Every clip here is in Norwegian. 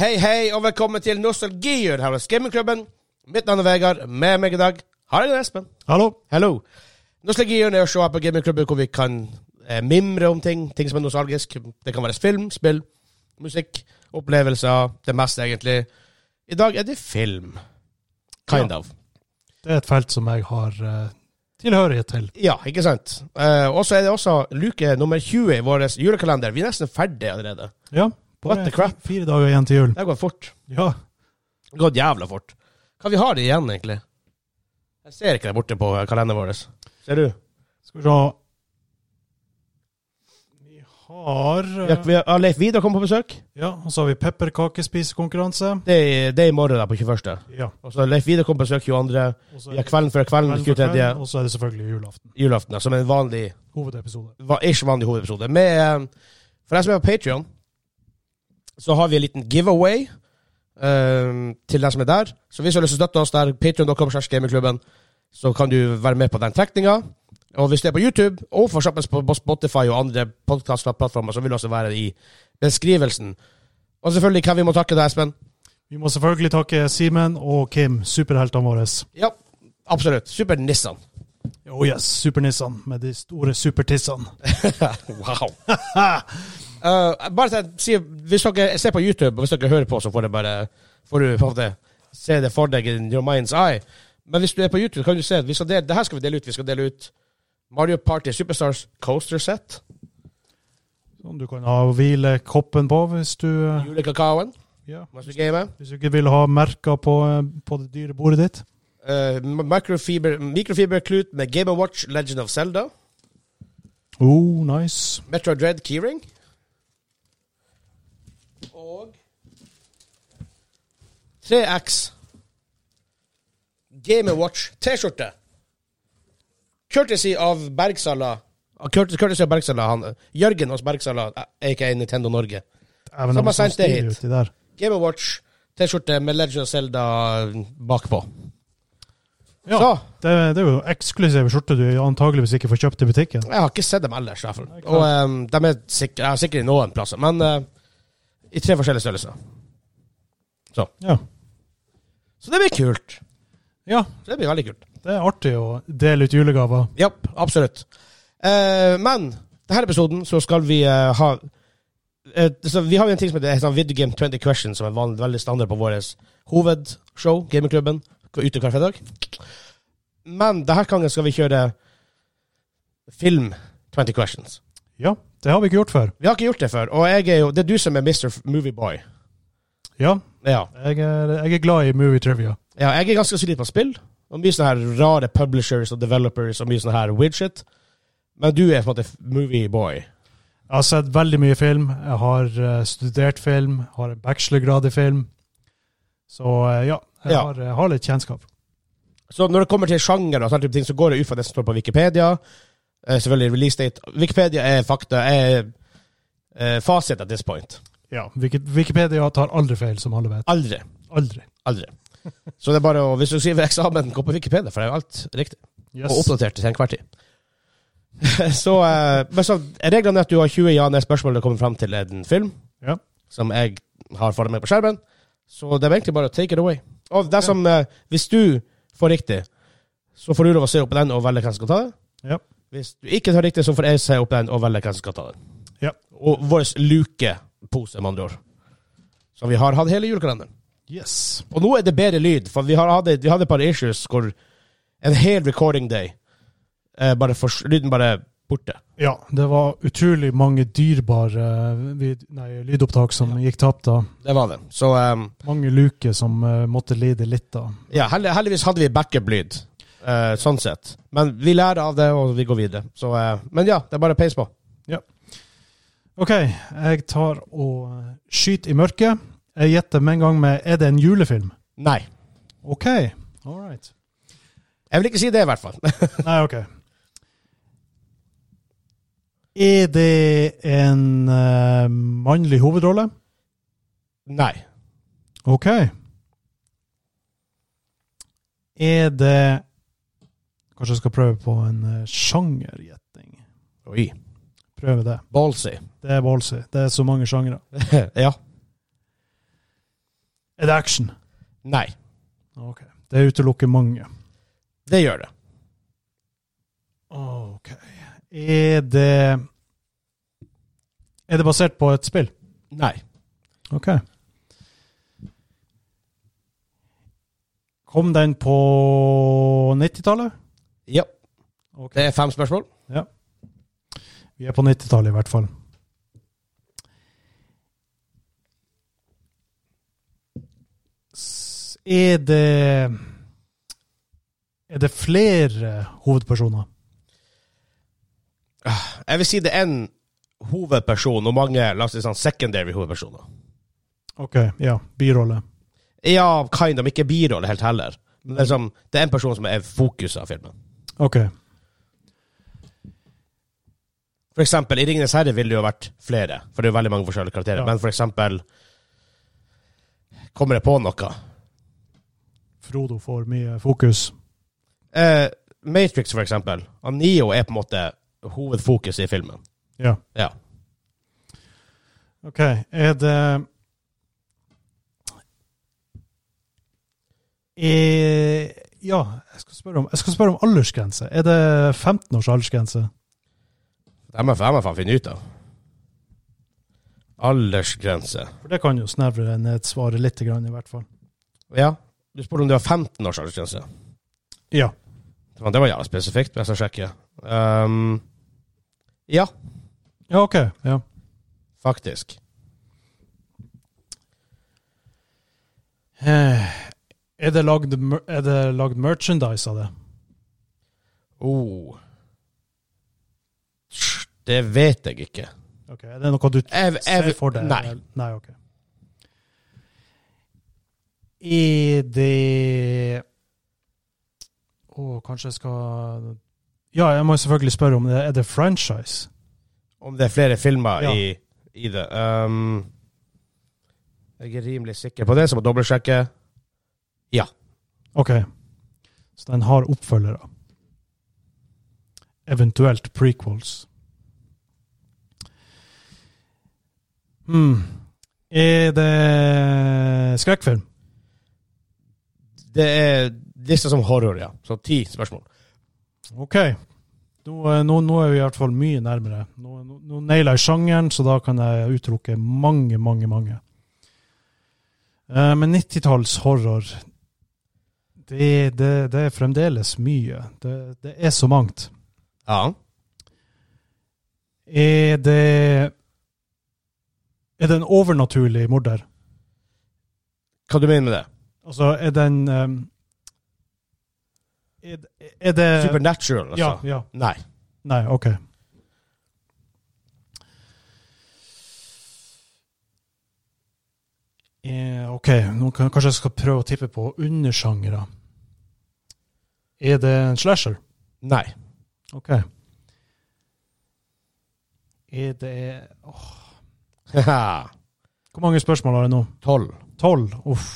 Hei, hei, og velkommen til Nostalgihjørnet her hos Gamingklubben. Mitt navn er Vegard. Med meg i dag har jeg Espen. Hallo. Hello. Nostalgihjørnet er å se her på gamingklubben hvor vi kan eh, mimre om ting. Ting som er nostalgisk. Det kan være film, spill, musikk, opplevelser. Det meste, egentlig. I dag er det film. Kind of. Det er et felt som jeg har eh, tilhørighet til. Ja, ikke sant? Eh, og så er det også luke nummer 20 i vår julekalender. Vi er nesten ferdig allerede. Ja. What the crap? fi- Fire dager igjen til jul. Det går fort. Ja. Det går jævla fort. Hva vi har det igjen, egentlig? Jeg ser ikke det borte på eh, kalenderen vår. Ser du? Skal vi se Vi har Vi har- eh, vi har- Leif Vidar kommer på besøk. Ja, og så har vi pepperkakespisekonkurranse. Det er, det er i morgen da, på 21. Ja. Og så Leif Vidar kommer på besøk 22. Og så Vi har er det kvelden før kvelden, kveld for 23. kveld, og så er det selvfølgelig julaften. julaften. da, Som en vanlig, Hovedepisode. va- ikke vanlig hovedepisode. Med, eh, for deg som er på Patrion, så har vi en liten giveaway eh, til deg som er der. Så hvis du har lyst til å støtte oss der, patreon.com slash gamingklubben, så kan du være med på den trekninga. Og hvis det er på YouTube, og for eksempel på på Spotify og andre podkastplattformer, så vil det også være i beskrivelsen. Og selvfølgelig kan vi må takke deg, Espen. Vi må selvfølgelig takke Simen og Kim, superheltene våre. Ja, absolutt. Super-Nissan. Oh yes, supernissene med de store supertissene. wow. Eh, bare til, å si, hvis dere ser på YouTube, og hvis dere hører på, så får, det bare, får du på en måte se det for deg in your mind's eye. Men hvis du er på YouTube, kan du se at vi skal dele, det her skal vi dele ut. Vi skal dele ut Mario Party Superstars Coaster Set. Som du kan ha hvile koppen på hvis du eh, Julekakaoen. ja. mens du gamer. Hvis du ikke vil ha merker på, eh, på det dyre bordet ditt. Eh, microfiber, microfiberklut med Game Watch Legend of Zelda. Oh, nice. Metro Dread Keyring. Og 3X Gamewatch T-skjorte. Courtesy av Bergsala Ah, Courtesy courtesy av Bergsala, han eh, Jørgen hos Bergsala, eh, aka Nintendo Norge. Even Som har sendt det hit. Uti der. Gamewatch T-skjorte med Legend of Zelda bakpå. Ja. Så Det, det er jo eksklusive skjorter du antageligvis ikke får kjøpt i butikken. Jeg har ikke sett dem ellers, i hvert fall. Nei, klart. Og eh, de er sikkert, jeg har sikkert i noen plasser, men eh, i tre forskjellige størrelser. Ja. Så det blir kult. ja, Så det blir veldig kult. det er artig å dele ut julegaver. Ja, absolutt. Eh, men denne episoden så skal vi eh, ha eh, så Vi har jo en ting som heter sånn Video Game 20 Questions, som er van, veldig standard på vårt hovedshow, Gamingklubben, ute hver fredag. Men denne gangen skal vi kjøre film 20 Questions. Ja, det har vi ikke gjort før. Vi har ikke gjort det før, og jeg er jo, det er du som er Mr. Movieboy. Ja, Ja. jeg er, jeg er glad i movie trivia. ja, jeg er ganske solid på spill, og mye sånne her rare publishers og developers og mye sånne her weird shit. Men du er på en måte Movieboy. Jeg har sett veldig mye film. Jeg har eh, studert film. Har en bachelorgrad i film. Så eh, ja, jeg Ja. Har, jeg har litt kjennskap. Så når det kommer til sjanger, og sånne type ting, så går det ut fra det som står på Wikipedia. Eh, selvfølgelig release date. Wikipedia er fakta, er eh, fasit at this point. Ja, Wiki- Wikipedia tar aldri feil, som alle vet. Aldri. Aldri. Aldri. Så det er bare å, hvis du skriver eksamen, gå på Wikipedia, for det er jo alt riktig. Yes. Og oppdatert til enhver tid. så, eh, men så reglene er at du har 20 ja-nei-spørsmål det kommer fram til en film, Ja. som jeg har foran meg på skjermen. Så det er egentlig bare å take it away. Og det som, eh, hvis du får riktig, så får du lov å se opp på den og velge hvem som skal ta det. Ja. Hvis du ikke tar riktig, så får jeg se opp den og velge hvem som skal ta den. Ja. Og vår lukepose, med andre ord. Som vi har hatt hele julekalenderen. Yes. Og nå er det bedre lyd, for vi har hadde, vi hadde et par issues hvor en hel recording day eh, bare fors- Lyden bare borte. Ja, det var utrolig mange dyrebare eh, vid, nei, lydopptak som gikk tapt da. Det var det. Så ehm, Mange luker som eh, måtte lide litt da. ja, heldig- heldigvis hadde vi backup-lyd. eh, sånn sett. Men vi lærer av det, og vi går videre. Så, eh, men ja, det er bare peis på. OK, jeg tar og eh, skyter i mørket. Jeg gjetter med en gang med Er det en julefilm? Nei. OK. All right. Jeg vil ikke si det, i hvert fall. Nei, OK. Er det en eh, mannlig hovedrolle? Nei. OK. Er det Kanskje jeg skal prøve på en eh, sjangergjetting. Oi. Prøve det. Ballsy. Det er ballsy. Det er så mange sjangere. ja. Er det action? Nei, Ok. Det utelukker mange. det gjør det. Ok. Er det Er det basert på et spill? Nei. Ok. Kom den på 90-tallet? Ja. Ok. Det er fem spørsmål. Vi er på 90-tallet i hvert fall. S- Er det Er det flere hovedpersoner? Jeg vil si det er en hovedperson og mange la oss si sånn secondary hovedpersoner. Ok, ja. Birolle. Ja, kind of, men ikke birolle helt heller. Men det er, liksom, det er en person som er fokuset av filmen. Ok. For eksempel, i Ringenes herre ville det jo vært flere, for det er jo veldig mange forskjellige karakterer. Ja. Men for eksempel Kommer jeg på noe? Frodo får mye fokus. Eh, Matrix, for eksempel. Han Neo er på en måte hovedfokuset i filmen. Ja. Ja. Ok, er det er, eh, Ja, jeg skal spørre om, jeg skal spørre om aldersgrense. Er det 15 års aldersgrense? Det må jeg faen finne ut av. Aldersgrense. For det kan jo snevre ned svaret litt, grann, i hvert fall. Ja. Du spurte om du har 15 års aldersgrense. Ja. Men Det var jævla spesifikt, men jeg skal sjekke. Ehm, ja, Ja, OK. Ja. faktisk. Eh, Er det lagd, mer- er det lagd merchandise av det? Oh. Det vet jeg ikke. Ok, Er det noe du Jeg, ser jeg, for deg? Nei. eller- Nei, OK. Er det Å, kanskje jeg skal Ja, jeg må selvfølgelig spørre om det. Er det franchise? Om det er flere filmer Ja. i, i det. Ehm, jeg er rimelig sikker på det, så må jeg dobbeltsjekke. OK. Så den har oppfølgere. Eventuelt prequels. Hmm. Er det skrekkfilm? Det er lista som horror, ja. Så ti spørsmål. OK. Nå, eh, nå, nå er vi i hvert fall mye nærmere. Nå, nå, nå nailer jeg sjangeren, så da kan jeg utelukke mange, mange, mange. Eh, men 90-talls horror det, det, det er fremdeles mye. Det, det er så mangt. Ja. Er det Er det en overnaturlig morder? Hva du mener med det? Altså, er den um, er, er det Supernatural, altså? Eh, Ja, ja. Nei. Nei, OK. Eh, OK, nå kan, kanskje jeg skal prøve å tippe på undersjangere. Er det en slasher? Nei. OK. Er det åh, Eh, Haha. Hvor mange spørsmål har jeg nå? Tolv. Tolv? Uff.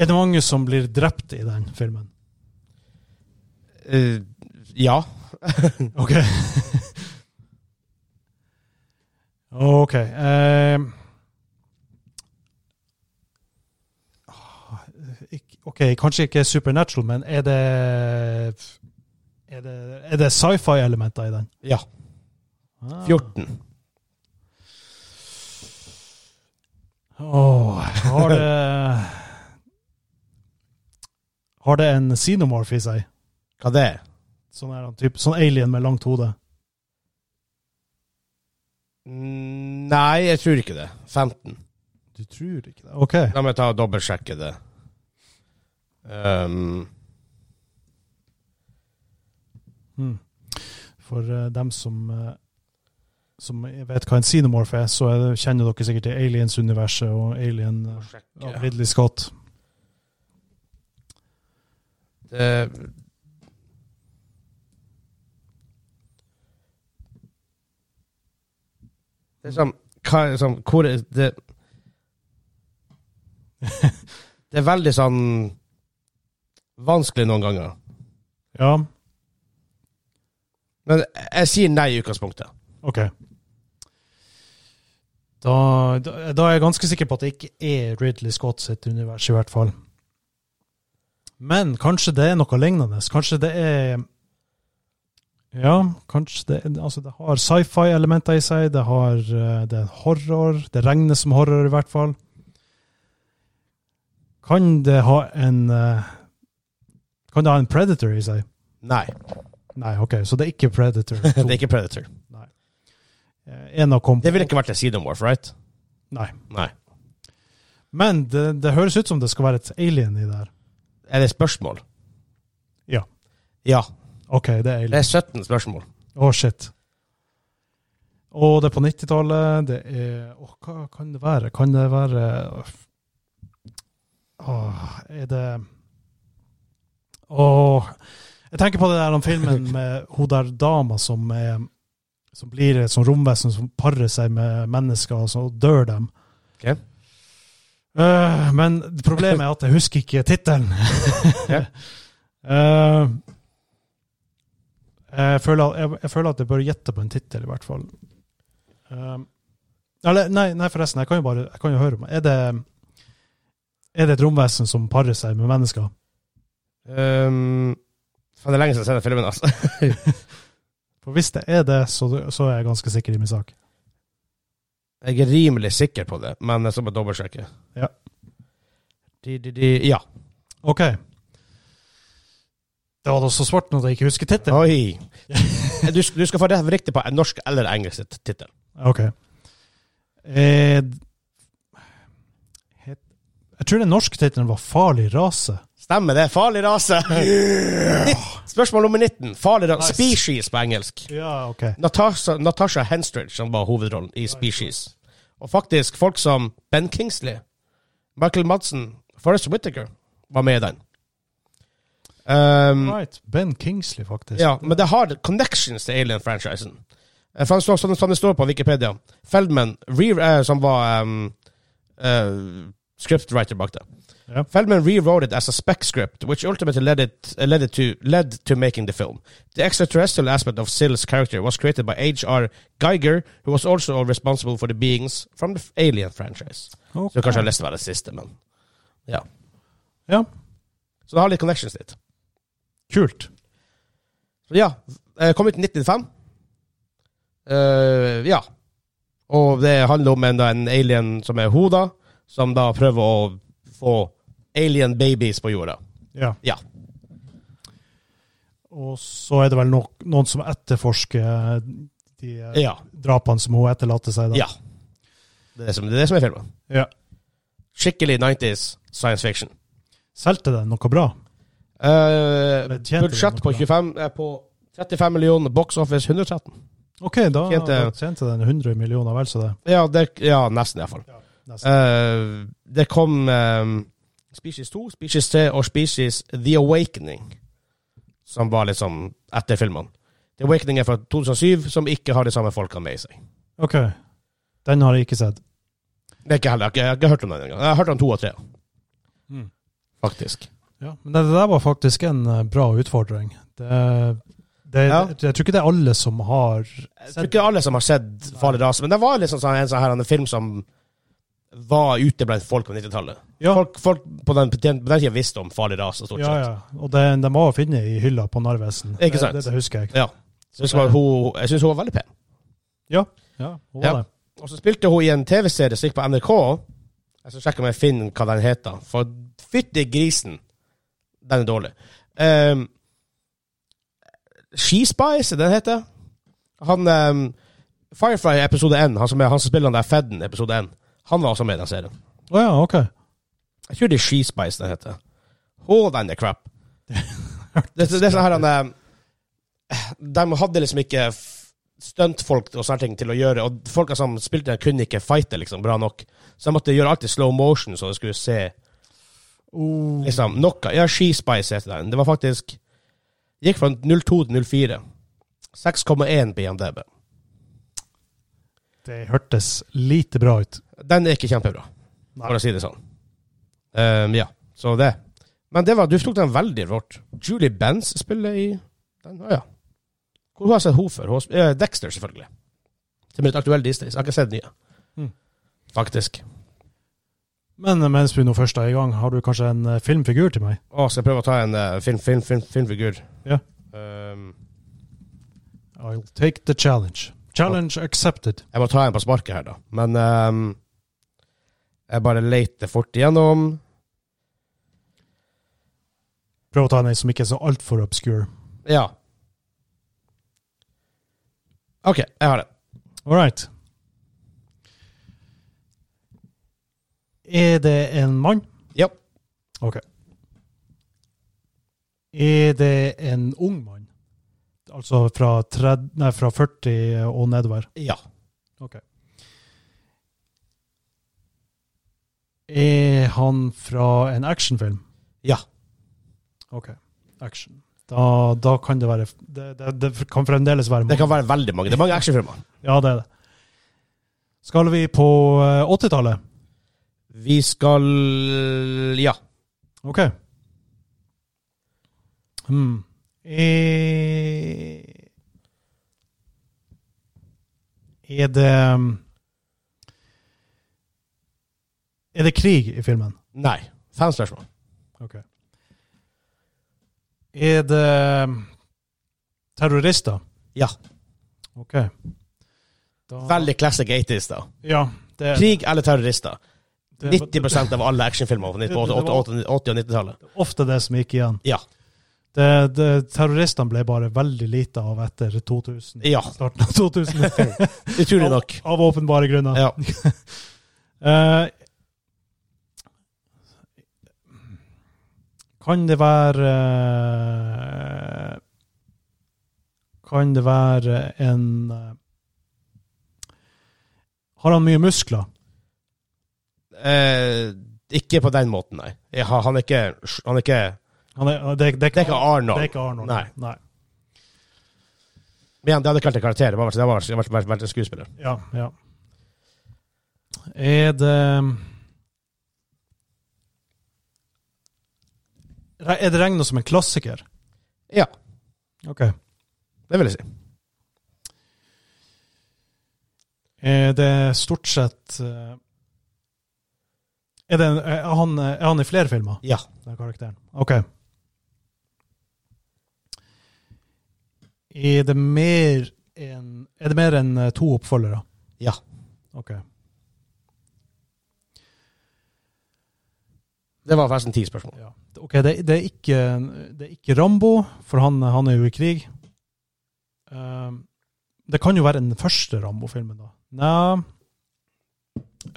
Er det mange som blir drept i den filmen? Eh, ja. Ok. ok. ehm. Ah, ikk- ok, kanskje ikke supernatural, men er det Er det, er det sci-fi-elementer i den? Ja. 14. Åh, har det Har det en xenomorph i seg? Hva det er? Sånn, er han, typ, sånn alien med langt hode? Mm, Nei, jeg tror ikke det. 15. Du tror ikke det? OK. La meg ta og dobbeltsjekke det. Ehm, Mm. For eh, dem som, eh, som vet hva en xenomorph er, så er det, kjenner dere sikkert til Aliens-universet og Alien må eh, sjekke. av Ridley Scott. Det Det er som, hva, er som hvor er det Det er veldig sånn vanskelig noen ganger. Ja, Men jeg sier nei i utgangspunktet. OK. Da, da, da er jeg ganske sikker på at det ikke er Ridley Scott sitt univers, i hvert fall. Men kanskje det er noe lignende. Kanskje det er Ja, kanskje det er Altså, det har sci-fi-elementer i seg. Det, har, eh, det er horror. Det regnes som horror, i hvert fall. Kan det ha en eh, Kan det ha en predator i seg? Nei, Nei, OK, så det er ikke predator. Eh, det er ikke Predator. En av komp Det ville ikke vært en Seedon Wharf, right? Nei. Nei. Men det, det høres ut som det skal være et alien i der. Er det spørsmål? Ja. Ja. OK, det er alien. Det er 17 spørsmål. Å, shit. Og det er på 90-tallet. Det er Åh, hva kan det være? Kan det være Åh, er det Åh Jeg tenker på det der om filmen med hun der dama som er som blir et sånt romvesen som parer seg med mennesker, og så dør dem. Ok. Eh, men problemet er at jeg husker ikke tittelen. Ja. Eh, jeg føler, jeg, jeg føler at jeg bør gjette på en tittel, i hvert fall. Um, eller, nei, nei, forresten, jeg kan jo bare jeg kan jo høre om Er det er det et romvesen som parer seg med mennesker? Um, faen, det er lenge siden jeg har sett den filmen, altså. For hvis det er det, så, så er jeg ganske sikker i min sak. Jeg er rimelig sikker på det, men jeg skal bare dobbeltsjekke. Ja. De, de, de, ja. OK. Det var da så svart når jeg ikke husker tittelen. Oi. Du, sk- du skal få rett- riktig på en norsk eller engelsk tit- tittel. OK. Eh, het, jeg tror den norske tittelen var 'Farlig rase'. Stemmer det. Farlig rase. Nitt- Spørsmål nummer 19. Farlig rase. Nice. Species på engelsk. Ja, OK. Natasha, Natasha Henstridge som var hovedrollen i Species. Og faktisk folk som Ben Kingsley, Michael Madsen, Forrest Whittaker var med i den. Um, Right. Ben Kingsley, faktisk. ja, men det har connections til Alien-franchisen. Eh, For han står, som, som det står på Wikipedia, Feldman, re, eh, som var um, eh, scriptwriter bak det. Ja. Feldman rewrote it as a spec script, which ultimately led it uh, led it to led to making the film. The extraterrestrial aspect of Sill's character was created by H.R. Geiger, who was also responsible for the beings from the Alien franchise. Ok. Så kanskje jeg har lyst til å være det siste, men ja. Ja. Så det har litt connections dit. Kult. Så ja, eh, kom ut i 1995. Eh, ja. Og det handler om en, da, en alien som er Hoda, som da prøver å få alien babies på jorda. Ja. Ja. Og så er det vel nok, noen som etterforsker eh, de eh, Ja. drapene som hun etterlater seg. Da. Ja. Det er det som, det er, det som er filmen. Ja. Skikkelig 90s science fiction. Solgte den noe bra? Eh, Men tjente budsjett den på, noe 25, eh, på 35 millioner, box office 113. OK, da Tjente- da tjente den 100 millioner, vel så det. Ja, det, ja nesten iallfall. Nesten. Uh, det kom eh, Species 2, Species 3 og Species The Awakening, som var liksom etter filmene. The Awakening er fra 2007, som ikke har de samme folka med i seg. OK. Den har jeg ikke sett. Det er ikke heller, jeg, har ikke- jeg har ikke hørt om den engang. Jeg har hørt om to og tre, Mm. faktisk. Ja. Men det, det der var faktisk en eh, bra utfordring. Det, det, Ja. jeg, tror ikke det er alle som har Jeg tror ikke alle som har sett Farlig rase, men det var liksom sånn, en sånn her, en film som var ute blant folk på 90-tallet. Ja. Folk, folk på den, på den tida visste om Farlig rase, stort Ja, sett. ja. Og den de var å finne i hylla på Narvesen. Ikke sant? Det, det, det husker jeg. Ja. Så husker jeg hun- jeg syns hun var veldig pen. Ja, hun Ja. var det. Og så spilte hun i en TV-serie som gikk på NRK. Jeg skal sjekke om jeg finner hva den heter. For fytti grisen, den er dårlig. Um, Skispice, den heter. Han um, Firefly episode 1, han som, er, han som spiller han der Fedden episode 1, han var også med i den serien. Å ja, OK. Jeg tror det er Skispice den heter. Å, den er crap. Det, det, er sånn her han eh, De hadde liksom ikke f- stuntfolk og sånne ting til å gjøre, og folka som spilte den, kunne ikke fighte liksom bra nok. Så de måtte gjøre alt i slow motion, så det skulle se Oh. liksom noe. Ja, Skispice heter den. Det var faktisk Gikk fra 02 til 04. 6,1 BMDB. Det hørtes lite bra ut. Den er ikke kjempebra, for å si det sånn. Ehm, ja, så det. Men det var, du tok den veldig rått. Julie Benz spiller i den, ja. Hvor har jeg sett henne før? Hun har sp- eh, Dexter, selvfølgelig. Som er litt aktuell Disney, så jeg har ikke sett den nye. Mm. faktisk. Men eh, mens vi nå først er i gang, har du kanskje en eh, filmfigur til meg? Å, skal jeg prøve å ta en eh, film, film, film, filmfigur? Ja. Ehm, I'll take the challenge. Challenge accepted. jeg må ta en på sparket her, da. Men ehm, jeg bare leter fort igjennom. Prøv å ta en som ikke er så altfor obscure. Ja. OK, jeg har det. All right. Er det en mann? Ja. Ok. Er det en ung mann? Altså fra, 30, nei, fra 40 og nedover? Ja. Ok. Er han fra en actionfilm? Ja. Ok, action. Da, da kan det være Det, det, det kan fremdeles være Det kan være veldig mange. Det er mange actionfilmer. Ja, det er det. Skal vi på eh, 80-tallet? Vi skal Ja. Ok. Hmm. Eh, Er det hmm, Er det krig i filmen? Nei. Fem spørsmål. Ok. Er det um, terrorister? Ja. Ok. Da- Veldig classic 80s, da. Ja. Det, Krig eller terrorister. det- 90 av alle actionfilmer på 80- 80- 80- 80- og 90-tallet. ofte det som gikk igjen. Ja. Det, det, terroristene ble bare veldig lite av etter 2000. Ja. Starten av 2000. Utrolig nok. Av åpenbare grunner. Ja. Eh, kan det være eh, Kan det være en eh, Har han mye muskler? Eh, ikke på den måten, nei. Jeg har- Han er ikke, han er ikke Han er, det, det, Det er ikke Arnold. Det er ikke Arnold. Nei. Nei. Men igjen, det hadde kalt en karakter. Det hadde vært, det hadde vært, det hadde vært, vært en skuespiller. Ja, ja. Er det Er det regna som en klassiker? Ja, Ok. det vil jeg si. Er Eh, det stort sett eh, Er, det, en- eh, er, han, er han i flere filmer, Ja. den karakteren? OK. Er det mer enn Er det mer enn eh, to oppfølgere? Ja. OK. Det var forresten ti spørsmål. Ja. Ok, det, det, er ikke, det er ikke Rambo, for han, han er jo i krig. Ehm, det kan jo være den første Rambo-filmen, da. Nei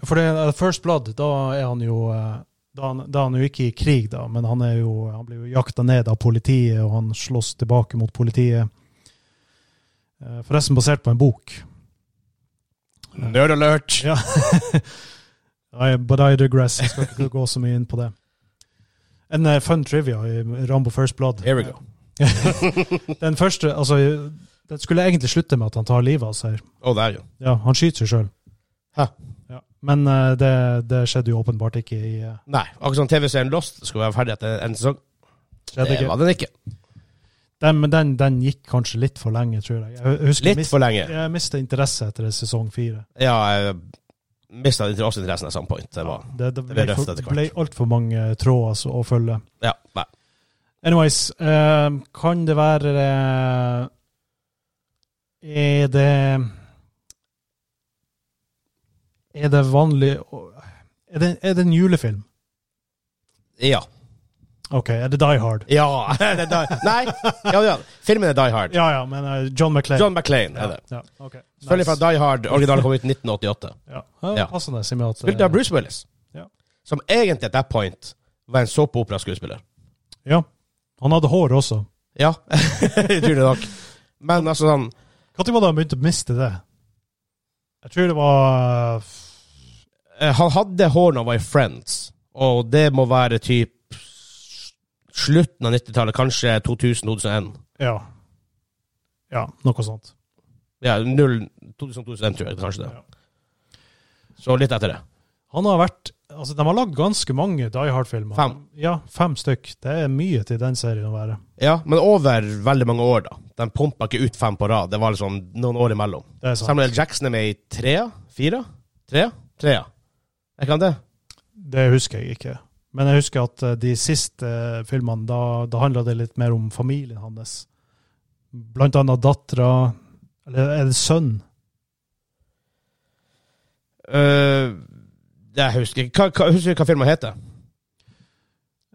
For det er First Blood, da er han jo eh, da er han, da er han jo ikke i krig, da, men han, er jo, han blir jo jakta ned av politiet, og han slåss tilbake mot politiet. Eh, Forresten basert på en bok. Nerd alert! Ja. I, but I digress. Jeg skal ikke gå så mye inn på det. En eh, fun trivia i Rambo First Blood. Here we go. Den første, altså, den skulle egentlig slutte med at han tar livet av seg. Å, det er jo Ja, han skyter seg sjøl. Hæ? Ja. Men eh, det, det skjedde jo åpenbart ikke i eh, Nei. Akkurat som TV-serien Lost skulle være ferdig etter en sesong. skjedde Det ikke. var den ikke. Den, men den, den gikk kanskje litt for lenge, tror jeg. Jeg husker jeg Litt mist, for lenge. jeg mista interesse etter sesong fire. Ja, jeg mista også interessen at some point. Det var det, det det ble, ble røft for- etter hvert. ble altfor mange tråder altså, å følge. Ja. Nei. Anyways, eh, kan det være eh, Er det Er det vanlig å- er det, er det en julefilm? Ja. OK, er det Die Hard? Ja! det er die. Nei! Ja, ja. Filmen er Die Hard. Ja, ja, men eh, John McClain. John McClain er det. Ja, ja, ok. Selvfølgelig fra Nice. Die Hard. Originalen kom ut i 1988. Ja. Ja, Ja. Passende, siden vi har hatt, eh, Spilte av Bruce Willis, Ja. som egentlig at that point var en såpeoperaskuespiller. Ja. Han hadde hår også. Ja, utrolig nok. Men altså sånn Når var det han begynte å miste det? Jeg tror det var eh, eh, Han hadde hår når han var i Friends, og det må være typ slutten av 90-tallet, kanskje 2000-2001. Ja. Ja, noe sånt. Ja, 0 2000-2001, tror jeg kanskje det. Ja. Så litt etter det. Han har vært Altså, de har lagd ganske mange Die Hard-filmer. Fem. Ja, fem stykk. Det er mye til den serien å være. Ja, men over veldig mange år, da. De pumpa ikke ut fem på rad. Det var liksom noen år imellom. Det er sant. Samuel Jackson er med i tre? Fire? Tre? Tre, ja. Er ikke han det? Det husker jeg ikke. Men jeg husker at eh, de siste filmene, da, da handla det litt mer om familien hans. Blant annet dattera Eller er det sønn? Eh, jeg husker ikke. Hva, hva, husker du hva filmen heter?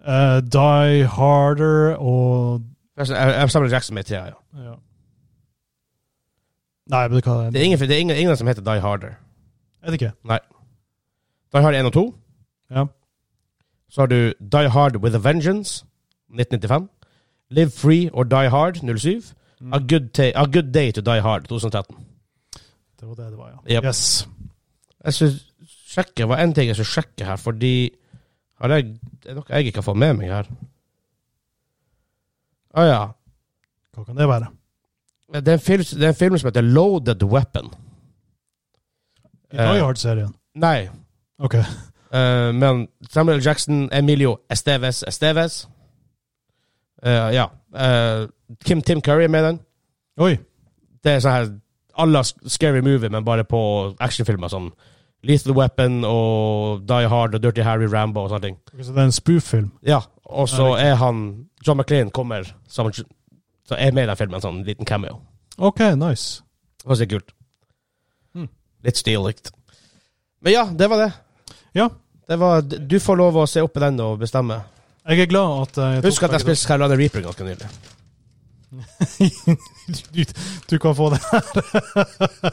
Eh, Die Harder og Forresten, Jeg, jeg samler Jackson med i tida, ja. ja. Nei, men hva er Det er ingen, det er ingen, ingen som heter Die Harder. Er det ikke? Die Hard 1 og 2. Ja. Så har du Die Hard With A Vengeance, 1995. Live Free or Die Hard, 07. A Good, Ta- A Good Day to Die Hard, 2013. Det var det det var, ja. Yep. Yes. Jeg skal sjekke, hva en ting jeg skal sjekke her, fordi har jeg, det er noe jeg ikke har fått med meg her. Å ja. Hva kan det være? Det er, en film, det er en film som heter Loaded Weapon. I Eh. Die Hard-serien. Nei, OK. eh, men Samuel L. Jackson, Emilio Esteves Esteves. Eh, ja. eh, Kim, Tim Curry er med i den. Oi. Det er sånn her Alle scary movie, men bare på actionfilmer som Lethal Weapon og Die Hard og Dirty Harry Rambo og sånne ting. Ok, Så det er en spoof-film. Ja, og så Ja, er han John McLean kommer som, Så er med i den filmen, sånn liten cameo. OK, nice. Det var så kult. Hmm. Litt stilig. Men ja, det var det. Ja. Det var, du får lov å se opp i den og bestemme. Jeg er glad at eh, jeg tok Husk at jeg begge spilte Carolina Reaper ganske nylig. du, du kan få det her.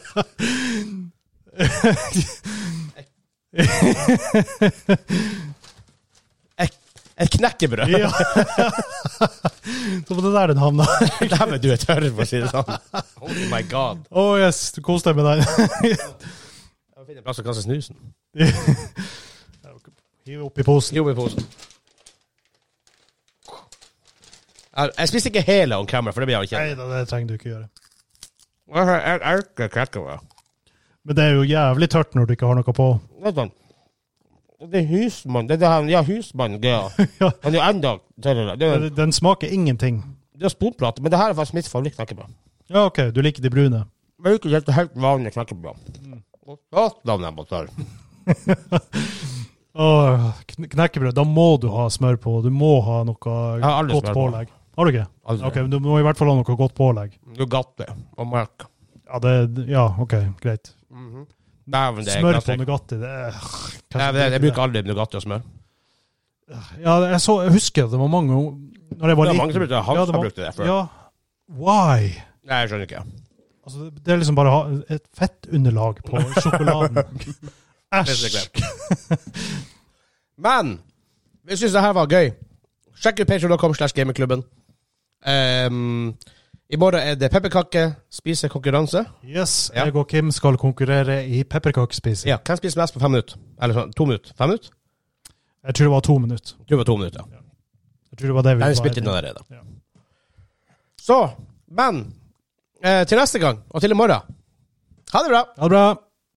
Et knekkebrød! ja. Det var det der den havna. Dæven, du er tørr, for å si det sånn. Oh my god. Å yes, du koste deg med den. Jeg må finne en plass å kaste snusen. Hiv oppi posen. Jo, i posen. Jeg jeg spiste ikke hele on camera, for det blir jævlig Nei kjedelig. da, det trenger du ikke gjøre. Jeg jeg- jeg elsker knekkebrød. Men det er jo jævlig tørt når du ikke har noe på. Vet du, det er husmann. Det er det han, ja, husmann-greia. Ja. Han er jo enda tørrere. Det, er- Den smaker ingenting. det er sponplate, men det her er faktisk mitt favorittknekkebrød. Ja, OK, du liker de brune. Men ikke helt, helt vanlig knekkebrød. Og satan om den var tørr. Åh, kn- knekkebrød. Da må du ha smør på. Du må ha noe Jeg har aldri godt smør på. pålegg. Har du ikke? Aldri. OK, men du må i hvert fall ha noe godt pålegg. Altså, Nugatti og melk. Ja, det, ja OK, greit. Mhm. Dæven, det er Smør på klassisk. Nugatti, det er Nei, men jeg, jeg bruker aldri Nugatti og smør. Ja, jeg, så, jeg husker at det var mange Når Det jeg var er liten mange som brukte det. Hans Ja, det har var- brukt det før. Ja, why? Nei, jeg skjønner ikke. Altså, det- det er liksom bare å ha et fettunderlag på sjokoladen. Æsj! Basically. Men vi syns det her var gøy. Sjekk ut patreon.com slash gamingklubben. Ehm, I morgen er det pepperkakespisekonkurranse. Yes, Ja. jeg og Kim skal konkurrere i pepperkakespising. Ja, hvem spiser mest på fem minutter? Eller sånn, to minutter? Fem minutter? Jeg tror det var to minutter. Jeg tror det var to minutter, ja. Jeg tror det var det vi Jeg har var spilt inn allerede. Ja. Så, men eh, til neste gang, og til i morgen. Ha det bra! Ha det bra!